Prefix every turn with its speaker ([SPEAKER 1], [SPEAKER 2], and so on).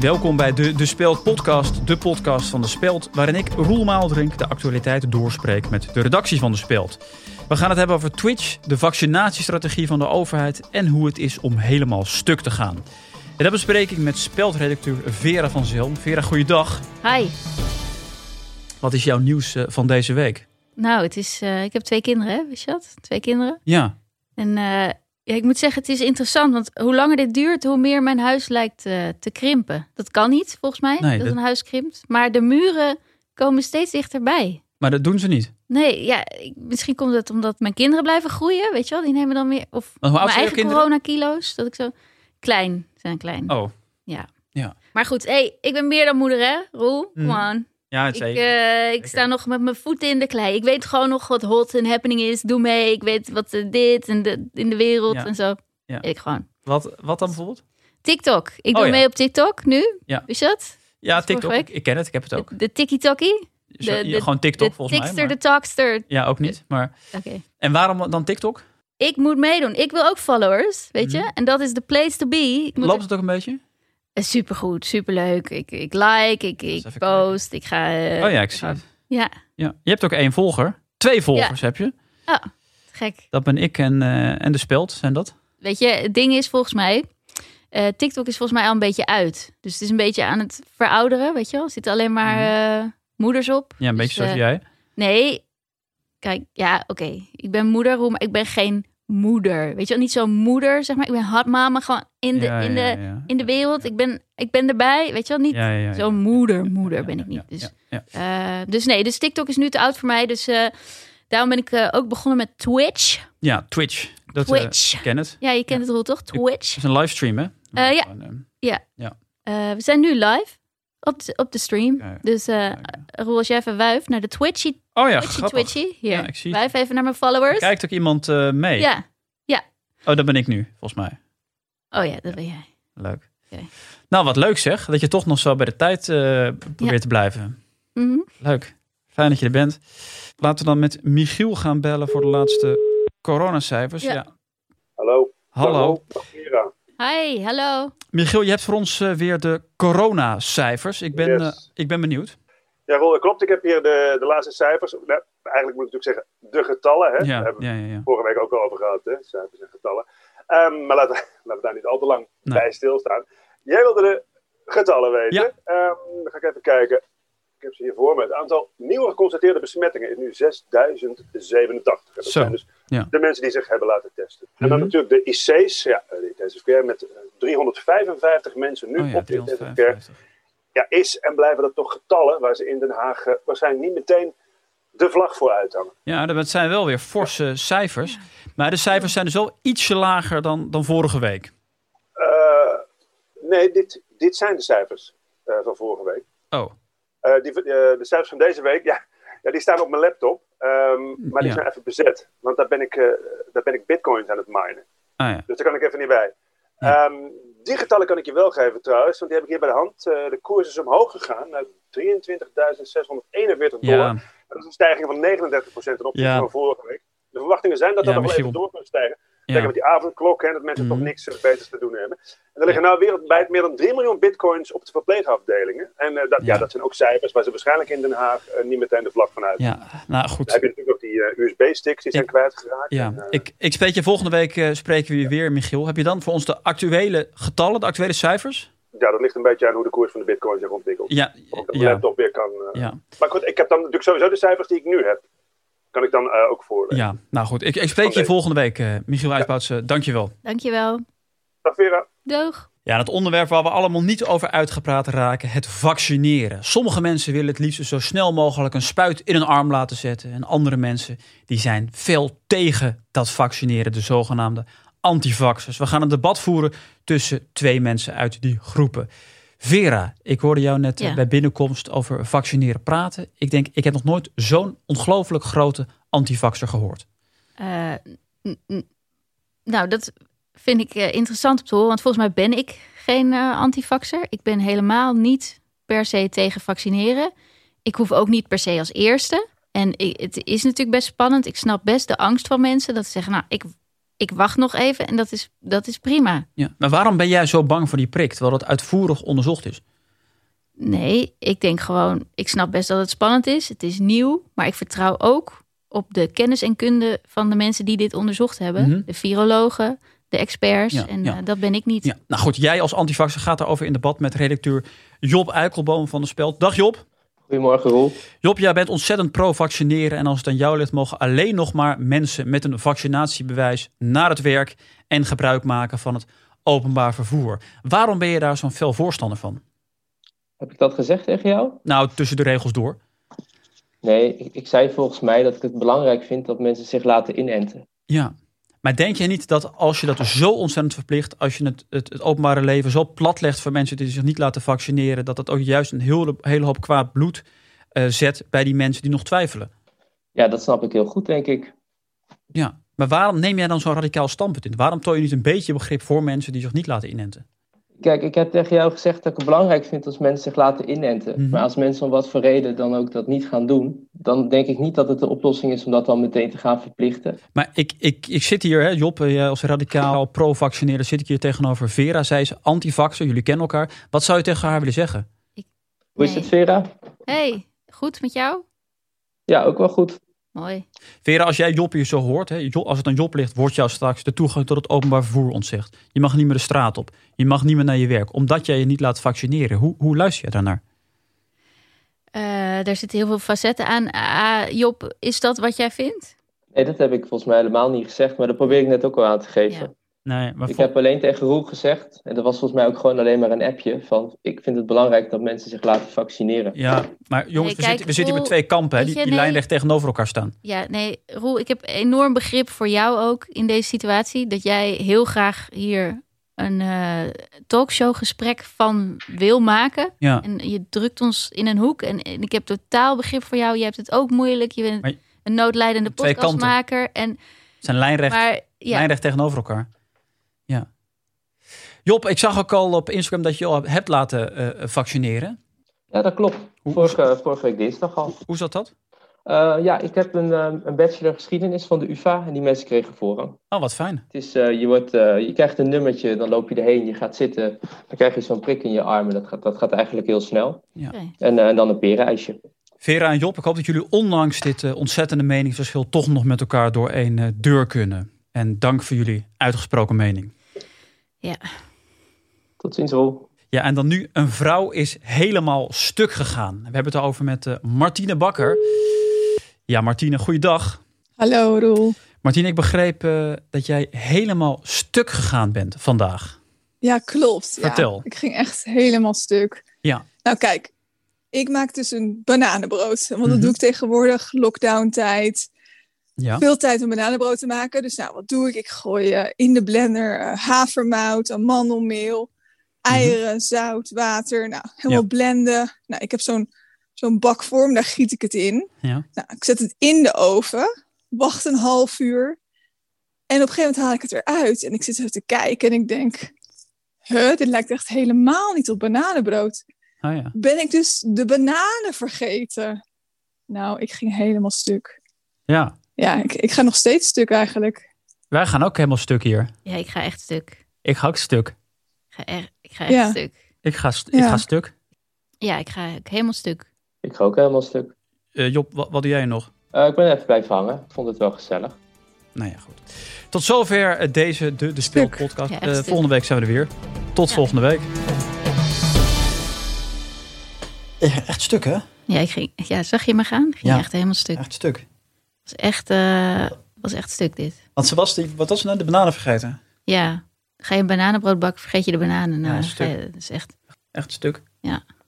[SPEAKER 1] Welkom bij de, de Speld podcast, de podcast van de Speld, waarin ik, Roel Maaldrink, de actualiteit doorspreek met de redactie van de Speld. We gaan het hebben over Twitch, de vaccinatiestrategie van de overheid en hoe het is om helemaal stuk te gaan. En dat bespreek ik met Speldredacteur Vera van Zelm. Vera, goeiedag.
[SPEAKER 2] Hi.
[SPEAKER 1] Wat is jouw nieuws eh, van deze week?
[SPEAKER 2] Nou, het is, eh, ik heb twee kinderen, hè, wist je dat? Twee kinderen.
[SPEAKER 1] Ja,
[SPEAKER 2] En eh, ja, ik moet zeggen, het is interessant, want hoe langer dit duurt, hoe meer mijn huis lijkt eh, te krimpen. Dat kan niet, volgens mij,
[SPEAKER 1] Nee,
[SPEAKER 2] dat
[SPEAKER 1] dat-
[SPEAKER 2] een huis krimpt. Maar de muren komen steeds dichterbij.
[SPEAKER 1] maar dat doen ze niet.
[SPEAKER 2] Nee, ja, ik- misschien komt het omdat mijn kinderen blijven groeien, weet je wel? Die nemen dan weer, of
[SPEAKER 1] Maar hoe oud
[SPEAKER 2] mijn
[SPEAKER 1] zijn jouw
[SPEAKER 2] eigen
[SPEAKER 1] kinderen?
[SPEAKER 2] coronakilo's, dat ik zo... Klein, ze zijn klein.
[SPEAKER 1] Oh,
[SPEAKER 2] Maar goed, hey, ik ben meer dan moeder, hè, Roel?
[SPEAKER 1] Mhm.
[SPEAKER 2] Come on.
[SPEAKER 1] ja, het
[SPEAKER 2] Ik,
[SPEAKER 1] zeker.
[SPEAKER 2] eh, ik
[SPEAKER 1] Zeker.
[SPEAKER 2] sta nog met mijn voeten in de klei. Ik weet gewoon nog wat hot en happening is. Doe mee. Ik weet wat eh, dit en de, in de wereld
[SPEAKER 1] Ja.
[SPEAKER 2] en zo.
[SPEAKER 1] Ja.
[SPEAKER 2] Weet ik gewoon.
[SPEAKER 1] wat, wat dan bijvoorbeeld?
[SPEAKER 2] TikTok. Ik
[SPEAKER 1] Oh,
[SPEAKER 2] doe
[SPEAKER 1] ja.
[SPEAKER 2] mee op TikTok nu.
[SPEAKER 1] Ja.
[SPEAKER 2] Is dat?
[SPEAKER 1] Ja,
[SPEAKER 2] is vorige
[SPEAKER 1] TikTok.
[SPEAKER 2] week.
[SPEAKER 1] Ik, ik ken het, ik heb het ook.
[SPEAKER 2] De, de Tiki-Tokkie?
[SPEAKER 1] Zo-
[SPEAKER 2] de-
[SPEAKER 1] ja,
[SPEAKER 2] de-
[SPEAKER 1] gewoon TikTok
[SPEAKER 2] De
[SPEAKER 1] volgens
[SPEAKER 2] Tikster,
[SPEAKER 1] mij. maar-
[SPEAKER 2] de Talkster.
[SPEAKER 1] Ja, ook niet. Maar,
[SPEAKER 2] Oké.
[SPEAKER 1] en waarom dan TikTok?
[SPEAKER 2] Ik moet meedoen. Ik wil ook followers, weet je?
[SPEAKER 1] Mhm.
[SPEAKER 2] En dat is de place to be. Ik moet
[SPEAKER 1] Loopt het ook een beetje?
[SPEAKER 2] Eh, Supergoed, superleuk. Ik, ik like, ik, ik
[SPEAKER 1] even
[SPEAKER 2] post, ik ga... eh,
[SPEAKER 1] oh ja, ik zie
[SPEAKER 2] ga-
[SPEAKER 1] het.
[SPEAKER 2] Ja,
[SPEAKER 1] Ja. Je hebt ook één volger. Twee volgers heb je.
[SPEAKER 2] gek.
[SPEAKER 1] Dat ben ik en, eh, en de speld, zijn dat?
[SPEAKER 2] Weet je, het ding is volgens mij. eh, TikTok is volgens mij al een beetje uit. Dus het is een beetje aan het verouderen, weet je wel. Er zitten alleen maar eh, moeders op.
[SPEAKER 1] Mhm. Ja, een
[SPEAKER 2] Dus,
[SPEAKER 1] beetje zoals
[SPEAKER 2] eh,
[SPEAKER 1] jij.
[SPEAKER 2] Nee, kijk, ja, oké. Ik ben moeder, Roel, maar ik ben geen moeder. Weet je wel, niet zo'n moeder, zeg maar. Ik ben hardmama gewoon in de,
[SPEAKER 1] Ja,
[SPEAKER 2] in de,
[SPEAKER 1] ja, ja.
[SPEAKER 2] In de wereld. Ik, ben, ik ben erbij, weet je wel. Niet
[SPEAKER 1] Ja, ja, ja, ja.
[SPEAKER 2] zo'n moeder, moeder ben ik niet.
[SPEAKER 1] Ja,
[SPEAKER 2] Dus,
[SPEAKER 1] ja, ja.
[SPEAKER 2] eh, dus nee, dus TikTok is nu te oud voor mij. Dus eh, daarom ben ik eh, ook begonnen met Twitch.
[SPEAKER 1] Ja, Twitch. Dat, eh,
[SPEAKER 2] Twitch.
[SPEAKER 1] ik ken het.
[SPEAKER 2] Ja, je kent het, Roel, toch? Twitch.
[SPEAKER 1] Het is een livestream, hè?
[SPEAKER 2] Eh, ja.
[SPEAKER 1] Gewoon, eh,
[SPEAKER 2] Eh, we zijn nu live op de, op de stream.
[SPEAKER 1] Ja, ja.
[SPEAKER 2] Dus eh
[SPEAKER 1] kijken.
[SPEAKER 2] Roel, als jij even wuift naar de Twitchy,
[SPEAKER 1] Oh ja,
[SPEAKER 2] Twitchy,
[SPEAKER 1] grappig.
[SPEAKER 2] Twitchy. Hier,
[SPEAKER 1] Ja, ik zie het.
[SPEAKER 2] wuif even naar mijn followers.
[SPEAKER 1] Kijkt ook iemand eh, mee?
[SPEAKER 2] Ja.
[SPEAKER 1] Oh, dat ben ik nu, volgens mij.
[SPEAKER 2] Oh ja, dat ben jij.
[SPEAKER 1] Leuk.
[SPEAKER 2] Oké.
[SPEAKER 1] Nou, wat leuk zeg. Dat je toch nog zo bij de tijd eh, probeert
[SPEAKER 2] Ja.
[SPEAKER 1] te blijven.
[SPEAKER 2] Mhm.
[SPEAKER 1] Leuk. Fijn dat je er bent. Laten we dan met Michiel gaan bellen voor de laatste coronacijfers. Ja.
[SPEAKER 2] Ja.
[SPEAKER 3] Hallo.
[SPEAKER 1] Hallo.
[SPEAKER 3] Vera.
[SPEAKER 2] Hi, hallo.
[SPEAKER 1] Michiel, je hebt voor ons eh, weer de coronacijfers. Ik ben,
[SPEAKER 3] Yes.
[SPEAKER 1] eh, ik ben benieuwd.
[SPEAKER 3] Ja, Roel, dat klopt. Ik heb hier de, de laatste cijfers. Nou, eigenlijk moet ik natuurlijk zeggen de getallen. Hè?
[SPEAKER 1] Ja,
[SPEAKER 3] Daar
[SPEAKER 1] ja,
[SPEAKER 3] hebben we
[SPEAKER 1] ja, ja.
[SPEAKER 3] het vorige week ook al over gehad, hè? cijfers en getallen. Ehm, maar laten, we- laten we daar niet al te lang
[SPEAKER 1] Nee.
[SPEAKER 3] bij stilstaan. Jij wilde de getallen weten.
[SPEAKER 1] Ja.
[SPEAKER 3] Ehm, dan ga ik even kijken. Ik heb ze hier voor me. Het aantal nieuwe geconstateerde besmettingen is nu 6087. Dat
[SPEAKER 1] Zo,
[SPEAKER 3] zijn dus
[SPEAKER 1] ja.
[SPEAKER 3] de mensen die zich hebben laten testen. En dan
[SPEAKER 1] Mhm.
[SPEAKER 3] natuurlijk de IC's, ja, de intensive care, met eh, 355 mensen nu
[SPEAKER 1] Oh ja,
[SPEAKER 3] op de intensive care.
[SPEAKER 1] 355.
[SPEAKER 3] ja, is en blijven dat toch getallen waar ze in Den Haag eh, waarschijnlijk niet meteen de vlag voor uithangen.
[SPEAKER 1] Ja, dat zijn wel weer forse cijfers. Maar de cijfers zijn dus wel ietsje lager dan, dan vorige week.
[SPEAKER 3] Eh, nee, dit, dit zijn de cijfers eh, van vorige week.
[SPEAKER 1] Oh,
[SPEAKER 3] Eh, die, eh, de cijfers van deze week, ja, ja die staan op mijn laptop. ehm, maar die
[SPEAKER 1] Ja.
[SPEAKER 3] zijn even bezet. Want daar ben, ik, eh, daar ben ik bitcoins aan het minen.
[SPEAKER 1] ah ja.
[SPEAKER 3] Dus daar kan ik even niet bij. Ehm, die getallen kan ik je wel geven trouwens. Want die heb ik hier bij de hand. Eh, de koers is omhoog gegaan naar 23.641 dollar.
[SPEAKER 1] Ja,
[SPEAKER 3] Dat is een stijging van 39% ten opzichte
[SPEAKER 1] Ja.
[SPEAKER 3] van vorige week. De verwachtingen zijn dat dat
[SPEAKER 1] Ja,
[SPEAKER 3] nog wel even
[SPEAKER 1] Michiel.
[SPEAKER 3] door kan stijgen. Kijk,
[SPEAKER 1] ja.
[SPEAKER 3] met die avondklok, hè, dat mensen
[SPEAKER 1] Mhm.
[SPEAKER 3] toch niks eh, beters te doen hebben. En er liggen nou wereldwijd meer dan 3 miljoen bitcoins op de verpleegafdelingen. En eh, dat, ja.
[SPEAKER 1] Ja.
[SPEAKER 3] dat zijn ook cijfers waar ze waarschijnlijk in Den Haag eh, niet meteen de vlag van uit.
[SPEAKER 1] ja. nou goed.
[SPEAKER 3] Dan heb je natuurlijk ook die eh, USB-sticks, die zijn kwijtgeraakt.
[SPEAKER 1] Ja,
[SPEAKER 3] En, eh,
[SPEAKER 1] ik, ik spreek je volgende week eh, spreken we je weer, Michiel. Heb je dan voor ons de actuele getallen, de actuele cijfers?
[SPEAKER 3] ja, dat ligt een beetje aan hoe de koers van de bitcoin zich ontwikkelt.
[SPEAKER 1] Ja,
[SPEAKER 3] Of dat de
[SPEAKER 1] ja,
[SPEAKER 3] laptop weer kan... eh,
[SPEAKER 1] ja,
[SPEAKER 3] Maar goed, ik heb dan natuurlijk sowieso de cijfers die ik nu heb. Kan ik dan eh, ook voorlezen.
[SPEAKER 1] ja. Nou goed, ik, ik spreek je
[SPEAKER 3] Oké.
[SPEAKER 1] volgende week, eh, Michiel Uitboutse. Dankjewel.
[SPEAKER 2] Dankjewel.
[SPEAKER 3] Dag Vera.
[SPEAKER 2] Doeg.
[SPEAKER 1] Ja, het onderwerp waar we allemaal niet over uitgepraat raken, het vaccineren. Sommige mensen willen het liefst zo snel mogelijk een spuit in hun arm laten zetten. En andere mensen die zijn fel tegen dat vaccineren, de zogenaamde antivaxers. We gaan een debat voeren tussen twee mensen uit die groepen. Vera, ik hoorde jou net eh,
[SPEAKER 2] Ja.
[SPEAKER 1] bij binnenkomst over vaccineren praten. Ik denk, ik heb nog nooit zo'n ongelooflijk grote antivaxer gehoord.
[SPEAKER 2] Eh, n- n- nou, dat vind ik eh, interessant om te horen. Want volgens mij ben ik geen eh antivaxer. Ik ben helemaal niet per se tegen vaccineren. Ik hoef ook niet per se als eerste. En i- het is natuurlijk best spannend. Ik snap best de angst van mensen dat ze zeggen: Nou, ik ik wacht nog even en dat is, dat is prima.
[SPEAKER 1] Ja. Maar waarom ben jij zo bang voor die prik, terwijl het uitvoerig onderzocht is?
[SPEAKER 2] Nee, ik denk gewoon, ik snap best dat het spannend is. Het is nieuw, maar ik vertrouw ook op de kennis en kunde van de mensen die dit onderzocht hebben.
[SPEAKER 1] Mhm.
[SPEAKER 2] De virologen, de experts.
[SPEAKER 1] Ja,
[SPEAKER 2] en
[SPEAKER 1] ja.
[SPEAKER 2] eh, dat ben ik niet.
[SPEAKER 1] Ja. Nou goed, jij als antivaxer gaat daarover in debat met redacteur Job Eikelboom van de Speld. Dag Job.
[SPEAKER 4] Goedemorgen, Roel.
[SPEAKER 1] Job, jij bent ontzettend pro-vaccineren. En als het aan jou ligt, mogen alleen nog maar mensen met een vaccinatiebewijs naar het werk en gebruik maken van het openbaar vervoer. Waarom ben je daar zo'n fel voorstander van?
[SPEAKER 4] Heb ik dat gezegd tegen jou?
[SPEAKER 1] Nou, tussen de regels door.
[SPEAKER 4] Nee, ik, ik zei volgens mij dat ik het belangrijk vind dat mensen zich laten inenten.
[SPEAKER 1] Ja. Maar denk je niet dat als je dat dus zo ontzettend verplicht, als je het, het, het openbare leven zo plat legt voor mensen die zich niet laten vaccineren, dat dat ook juist een hele, hele hoop kwaad bloed eh, zet bij die mensen die nog twijfelen?
[SPEAKER 4] Ja, dat snap ik heel goed, denk ik.
[SPEAKER 1] Ja. Maar waarom neem jij dan zo'n radicaal standpunt in? Waarom toon je niet een beetje begrip voor mensen die zich niet laten inenten?
[SPEAKER 4] Kijk, ik heb tegen jou gezegd dat ik het belangrijk vind als mensen zich laten inenten.
[SPEAKER 1] Mhm.
[SPEAKER 4] Maar als mensen om wat voor reden dan ook dat niet gaan doen, dan denk ik niet dat het de oplossing is om dat dan meteen te gaan verplichten.
[SPEAKER 1] Maar ik, ik, ik zit hier, hè, Job, eh, jij als radicaal pro-vaccineerder zit ik hier tegenover Vera. Zij is antivaxer, jullie kennen elkaar. Wat zou je tegen haar willen zeggen?
[SPEAKER 4] Hoe is
[SPEAKER 2] Nee.
[SPEAKER 4] het, Vera?
[SPEAKER 2] hey, goed met jou?
[SPEAKER 4] Ja, ook wel goed.
[SPEAKER 2] Mooi.
[SPEAKER 1] Vera, als jij Job hier zo hoort, hè, Job- als het aan Job ligt, wordt jou straks de toegang tot het openbaar vervoer ontzegd. Je mag niet meer de straat op. Je mag niet meer naar je werk, omdat jij je niet laat vaccineren. Hoe, hoe luister je daarnaar?
[SPEAKER 2] Eh, daar zitten heel veel facetten aan. Ah, Job, is dat wat jij vindt?
[SPEAKER 4] Nee, dat heb ik volgens mij helemaal niet gezegd, maar dat probeer ik net ook al aan te geven.
[SPEAKER 2] Ja.
[SPEAKER 1] Nee, maar
[SPEAKER 4] Ik heb alleen tegen Roel gezegd, en dat was volgens mij ook gewoon alleen maar een appje, van ik vind het belangrijk dat mensen zich laten vaccineren.
[SPEAKER 1] Ja, maar jongens, we,
[SPEAKER 2] Nee, kijk,
[SPEAKER 1] zitten, we zitten hier met
[SPEAKER 2] Roel,
[SPEAKER 1] twee kampen hè,
[SPEAKER 2] weet
[SPEAKER 1] die,
[SPEAKER 2] je,
[SPEAKER 1] die
[SPEAKER 2] nee.
[SPEAKER 1] lijnrecht tegenover elkaar staan.
[SPEAKER 2] Ja, nee, Roel, ik heb enorm begrip voor jou ook in deze situatie. Dat jij heel graag hier een eh talkshowgesprek van wil maken.
[SPEAKER 1] Ja.
[SPEAKER 2] En je drukt ons in een hoek. En, en ik heb totaal begrip voor jou. Je hebt het ook moeilijk. Je bent
[SPEAKER 1] Maar-
[SPEAKER 2] een noodlijdende
[SPEAKER 1] Twee kanten.
[SPEAKER 2] podcastmaker. En,
[SPEAKER 1] Het zijn lijnrecht
[SPEAKER 2] maar ja,
[SPEAKER 1] Lijnrecht tegenover elkaar. Ja. Job, ik zag ook al op Instagram dat je je al hebt laten eh, vaccineren.
[SPEAKER 4] Ja, dat klopt.
[SPEAKER 1] Hoe-
[SPEAKER 4] Vorige, vorige week dinsdag al.
[SPEAKER 1] Hoe zat dat?
[SPEAKER 4] Eh, ja, ik heb een, eh, een bachelor geschiedenis van de UvA en die mensen kregen voorrang.
[SPEAKER 1] Oh, wat fijn.
[SPEAKER 4] Het is, eh, je, wordt, eh, je krijgt een nummertje, dan loop je erheen, je gaat zitten, dan krijg je zo'n prik in je arm en dat gaat, dat gaat eigenlijk heel snel.
[SPEAKER 2] oké.
[SPEAKER 4] En, eh, en dan een perenijsje.
[SPEAKER 1] Vera en Job, ik hoop dat jullie ondanks dit eh, ontzettende meningsverschil toch nog met elkaar door één eh, deur kunnen. En dank voor jullie uitgesproken mening.
[SPEAKER 4] Tot ziens, Roel.
[SPEAKER 1] Ja, en dan nu, een vrouw is helemaal stuk gegaan. We hebben het over met eh, Martine Bakker. Ja, Martine, goeiedag.
[SPEAKER 5] Hallo Roel.
[SPEAKER 1] Martine, ik begreep eh, dat jij helemaal stuk gegaan bent vandaag.
[SPEAKER 5] Ja, klopt. Ja.
[SPEAKER 1] Vertel.
[SPEAKER 5] Ik ging echt helemaal stuk.
[SPEAKER 1] Ja.
[SPEAKER 5] Nou kijk, ik maak dus een bananenbrood. Want
[SPEAKER 1] Mhm.
[SPEAKER 5] dat doe ik tegenwoordig, lockdown tijd.
[SPEAKER 1] Ja.
[SPEAKER 5] Veel tijd om bananenbrood te maken. Dus nou, wat doe ik? Ik gooi eh, in de blender eh, havermout, amandelmeel, eieren, zout, water. Nou, helemaal
[SPEAKER 1] Mhm. Ja.
[SPEAKER 5] blenden. Nou, ik heb zo'n zo'n bakvorm, daar giet ik het in.
[SPEAKER 1] Ja.
[SPEAKER 5] Nou, ik zet het in de oven, wacht een half uur. En op een gegeven moment haal ik het eruit. En ik zit even te kijken en ik denk... Huh, dit lijkt echt helemaal niet op bananenbrood.
[SPEAKER 1] Ah, ja.
[SPEAKER 5] Ben ik dus de bananen vergeten? Nou, ik ging helemaal stuk.
[SPEAKER 1] ja.
[SPEAKER 5] Ja, ik, ik ga nog steeds stuk eigenlijk.
[SPEAKER 1] Wij gaan ook helemaal stuk hier.
[SPEAKER 2] ja, ik ga echt stuk.
[SPEAKER 1] Ik ga ook stuk.
[SPEAKER 2] Ik ga echt, ik ga echt
[SPEAKER 5] Ja.
[SPEAKER 2] stuk.
[SPEAKER 1] Ik ga, st- ik
[SPEAKER 5] Ja.
[SPEAKER 1] ga stuk.
[SPEAKER 2] Ja, ik ga ook helemaal stuk.
[SPEAKER 4] Ik ga ook helemaal stuk.
[SPEAKER 1] Eh, Job, wat, wat doe jij nog?
[SPEAKER 4] Eh, ik ben even blijven hangen. Ik vond het wel gezellig.
[SPEAKER 1] Nou ja, goed. Tot zover eh, deze De, de Speel
[SPEAKER 5] Stuk.
[SPEAKER 1] podcast.
[SPEAKER 2] Ja, echt
[SPEAKER 1] Eh,
[SPEAKER 2] stuk.
[SPEAKER 1] volgende week zijn we er weer. Tot
[SPEAKER 2] Ja.
[SPEAKER 1] volgende week. Echt stuk, hè?
[SPEAKER 2] Ja, ik ging, ja zag je me gaan? Ik ging
[SPEAKER 1] Ja.
[SPEAKER 2] echt helemaal stuk. Het
[SPEAKER 1] Echt stuk.
[SPEAKER 2] was echt, eh, was echt stuk dit.
[SPEAKER 1] Want ze was die, wat was ze nou? De bananen vergeten.
[SPEAKER 2] Ja, ga je een bananenbrood bakken, vergeet je de bananen. Nou,
[SPEAKER 1] Ja,
[SPEAKER 2] dan
[SPEAKER 1] stuk.
[SPEAKER 2] ga je- dat is echt...
[SPEAKER 1] Echt stuk.
[SPEAKER 2] Ja.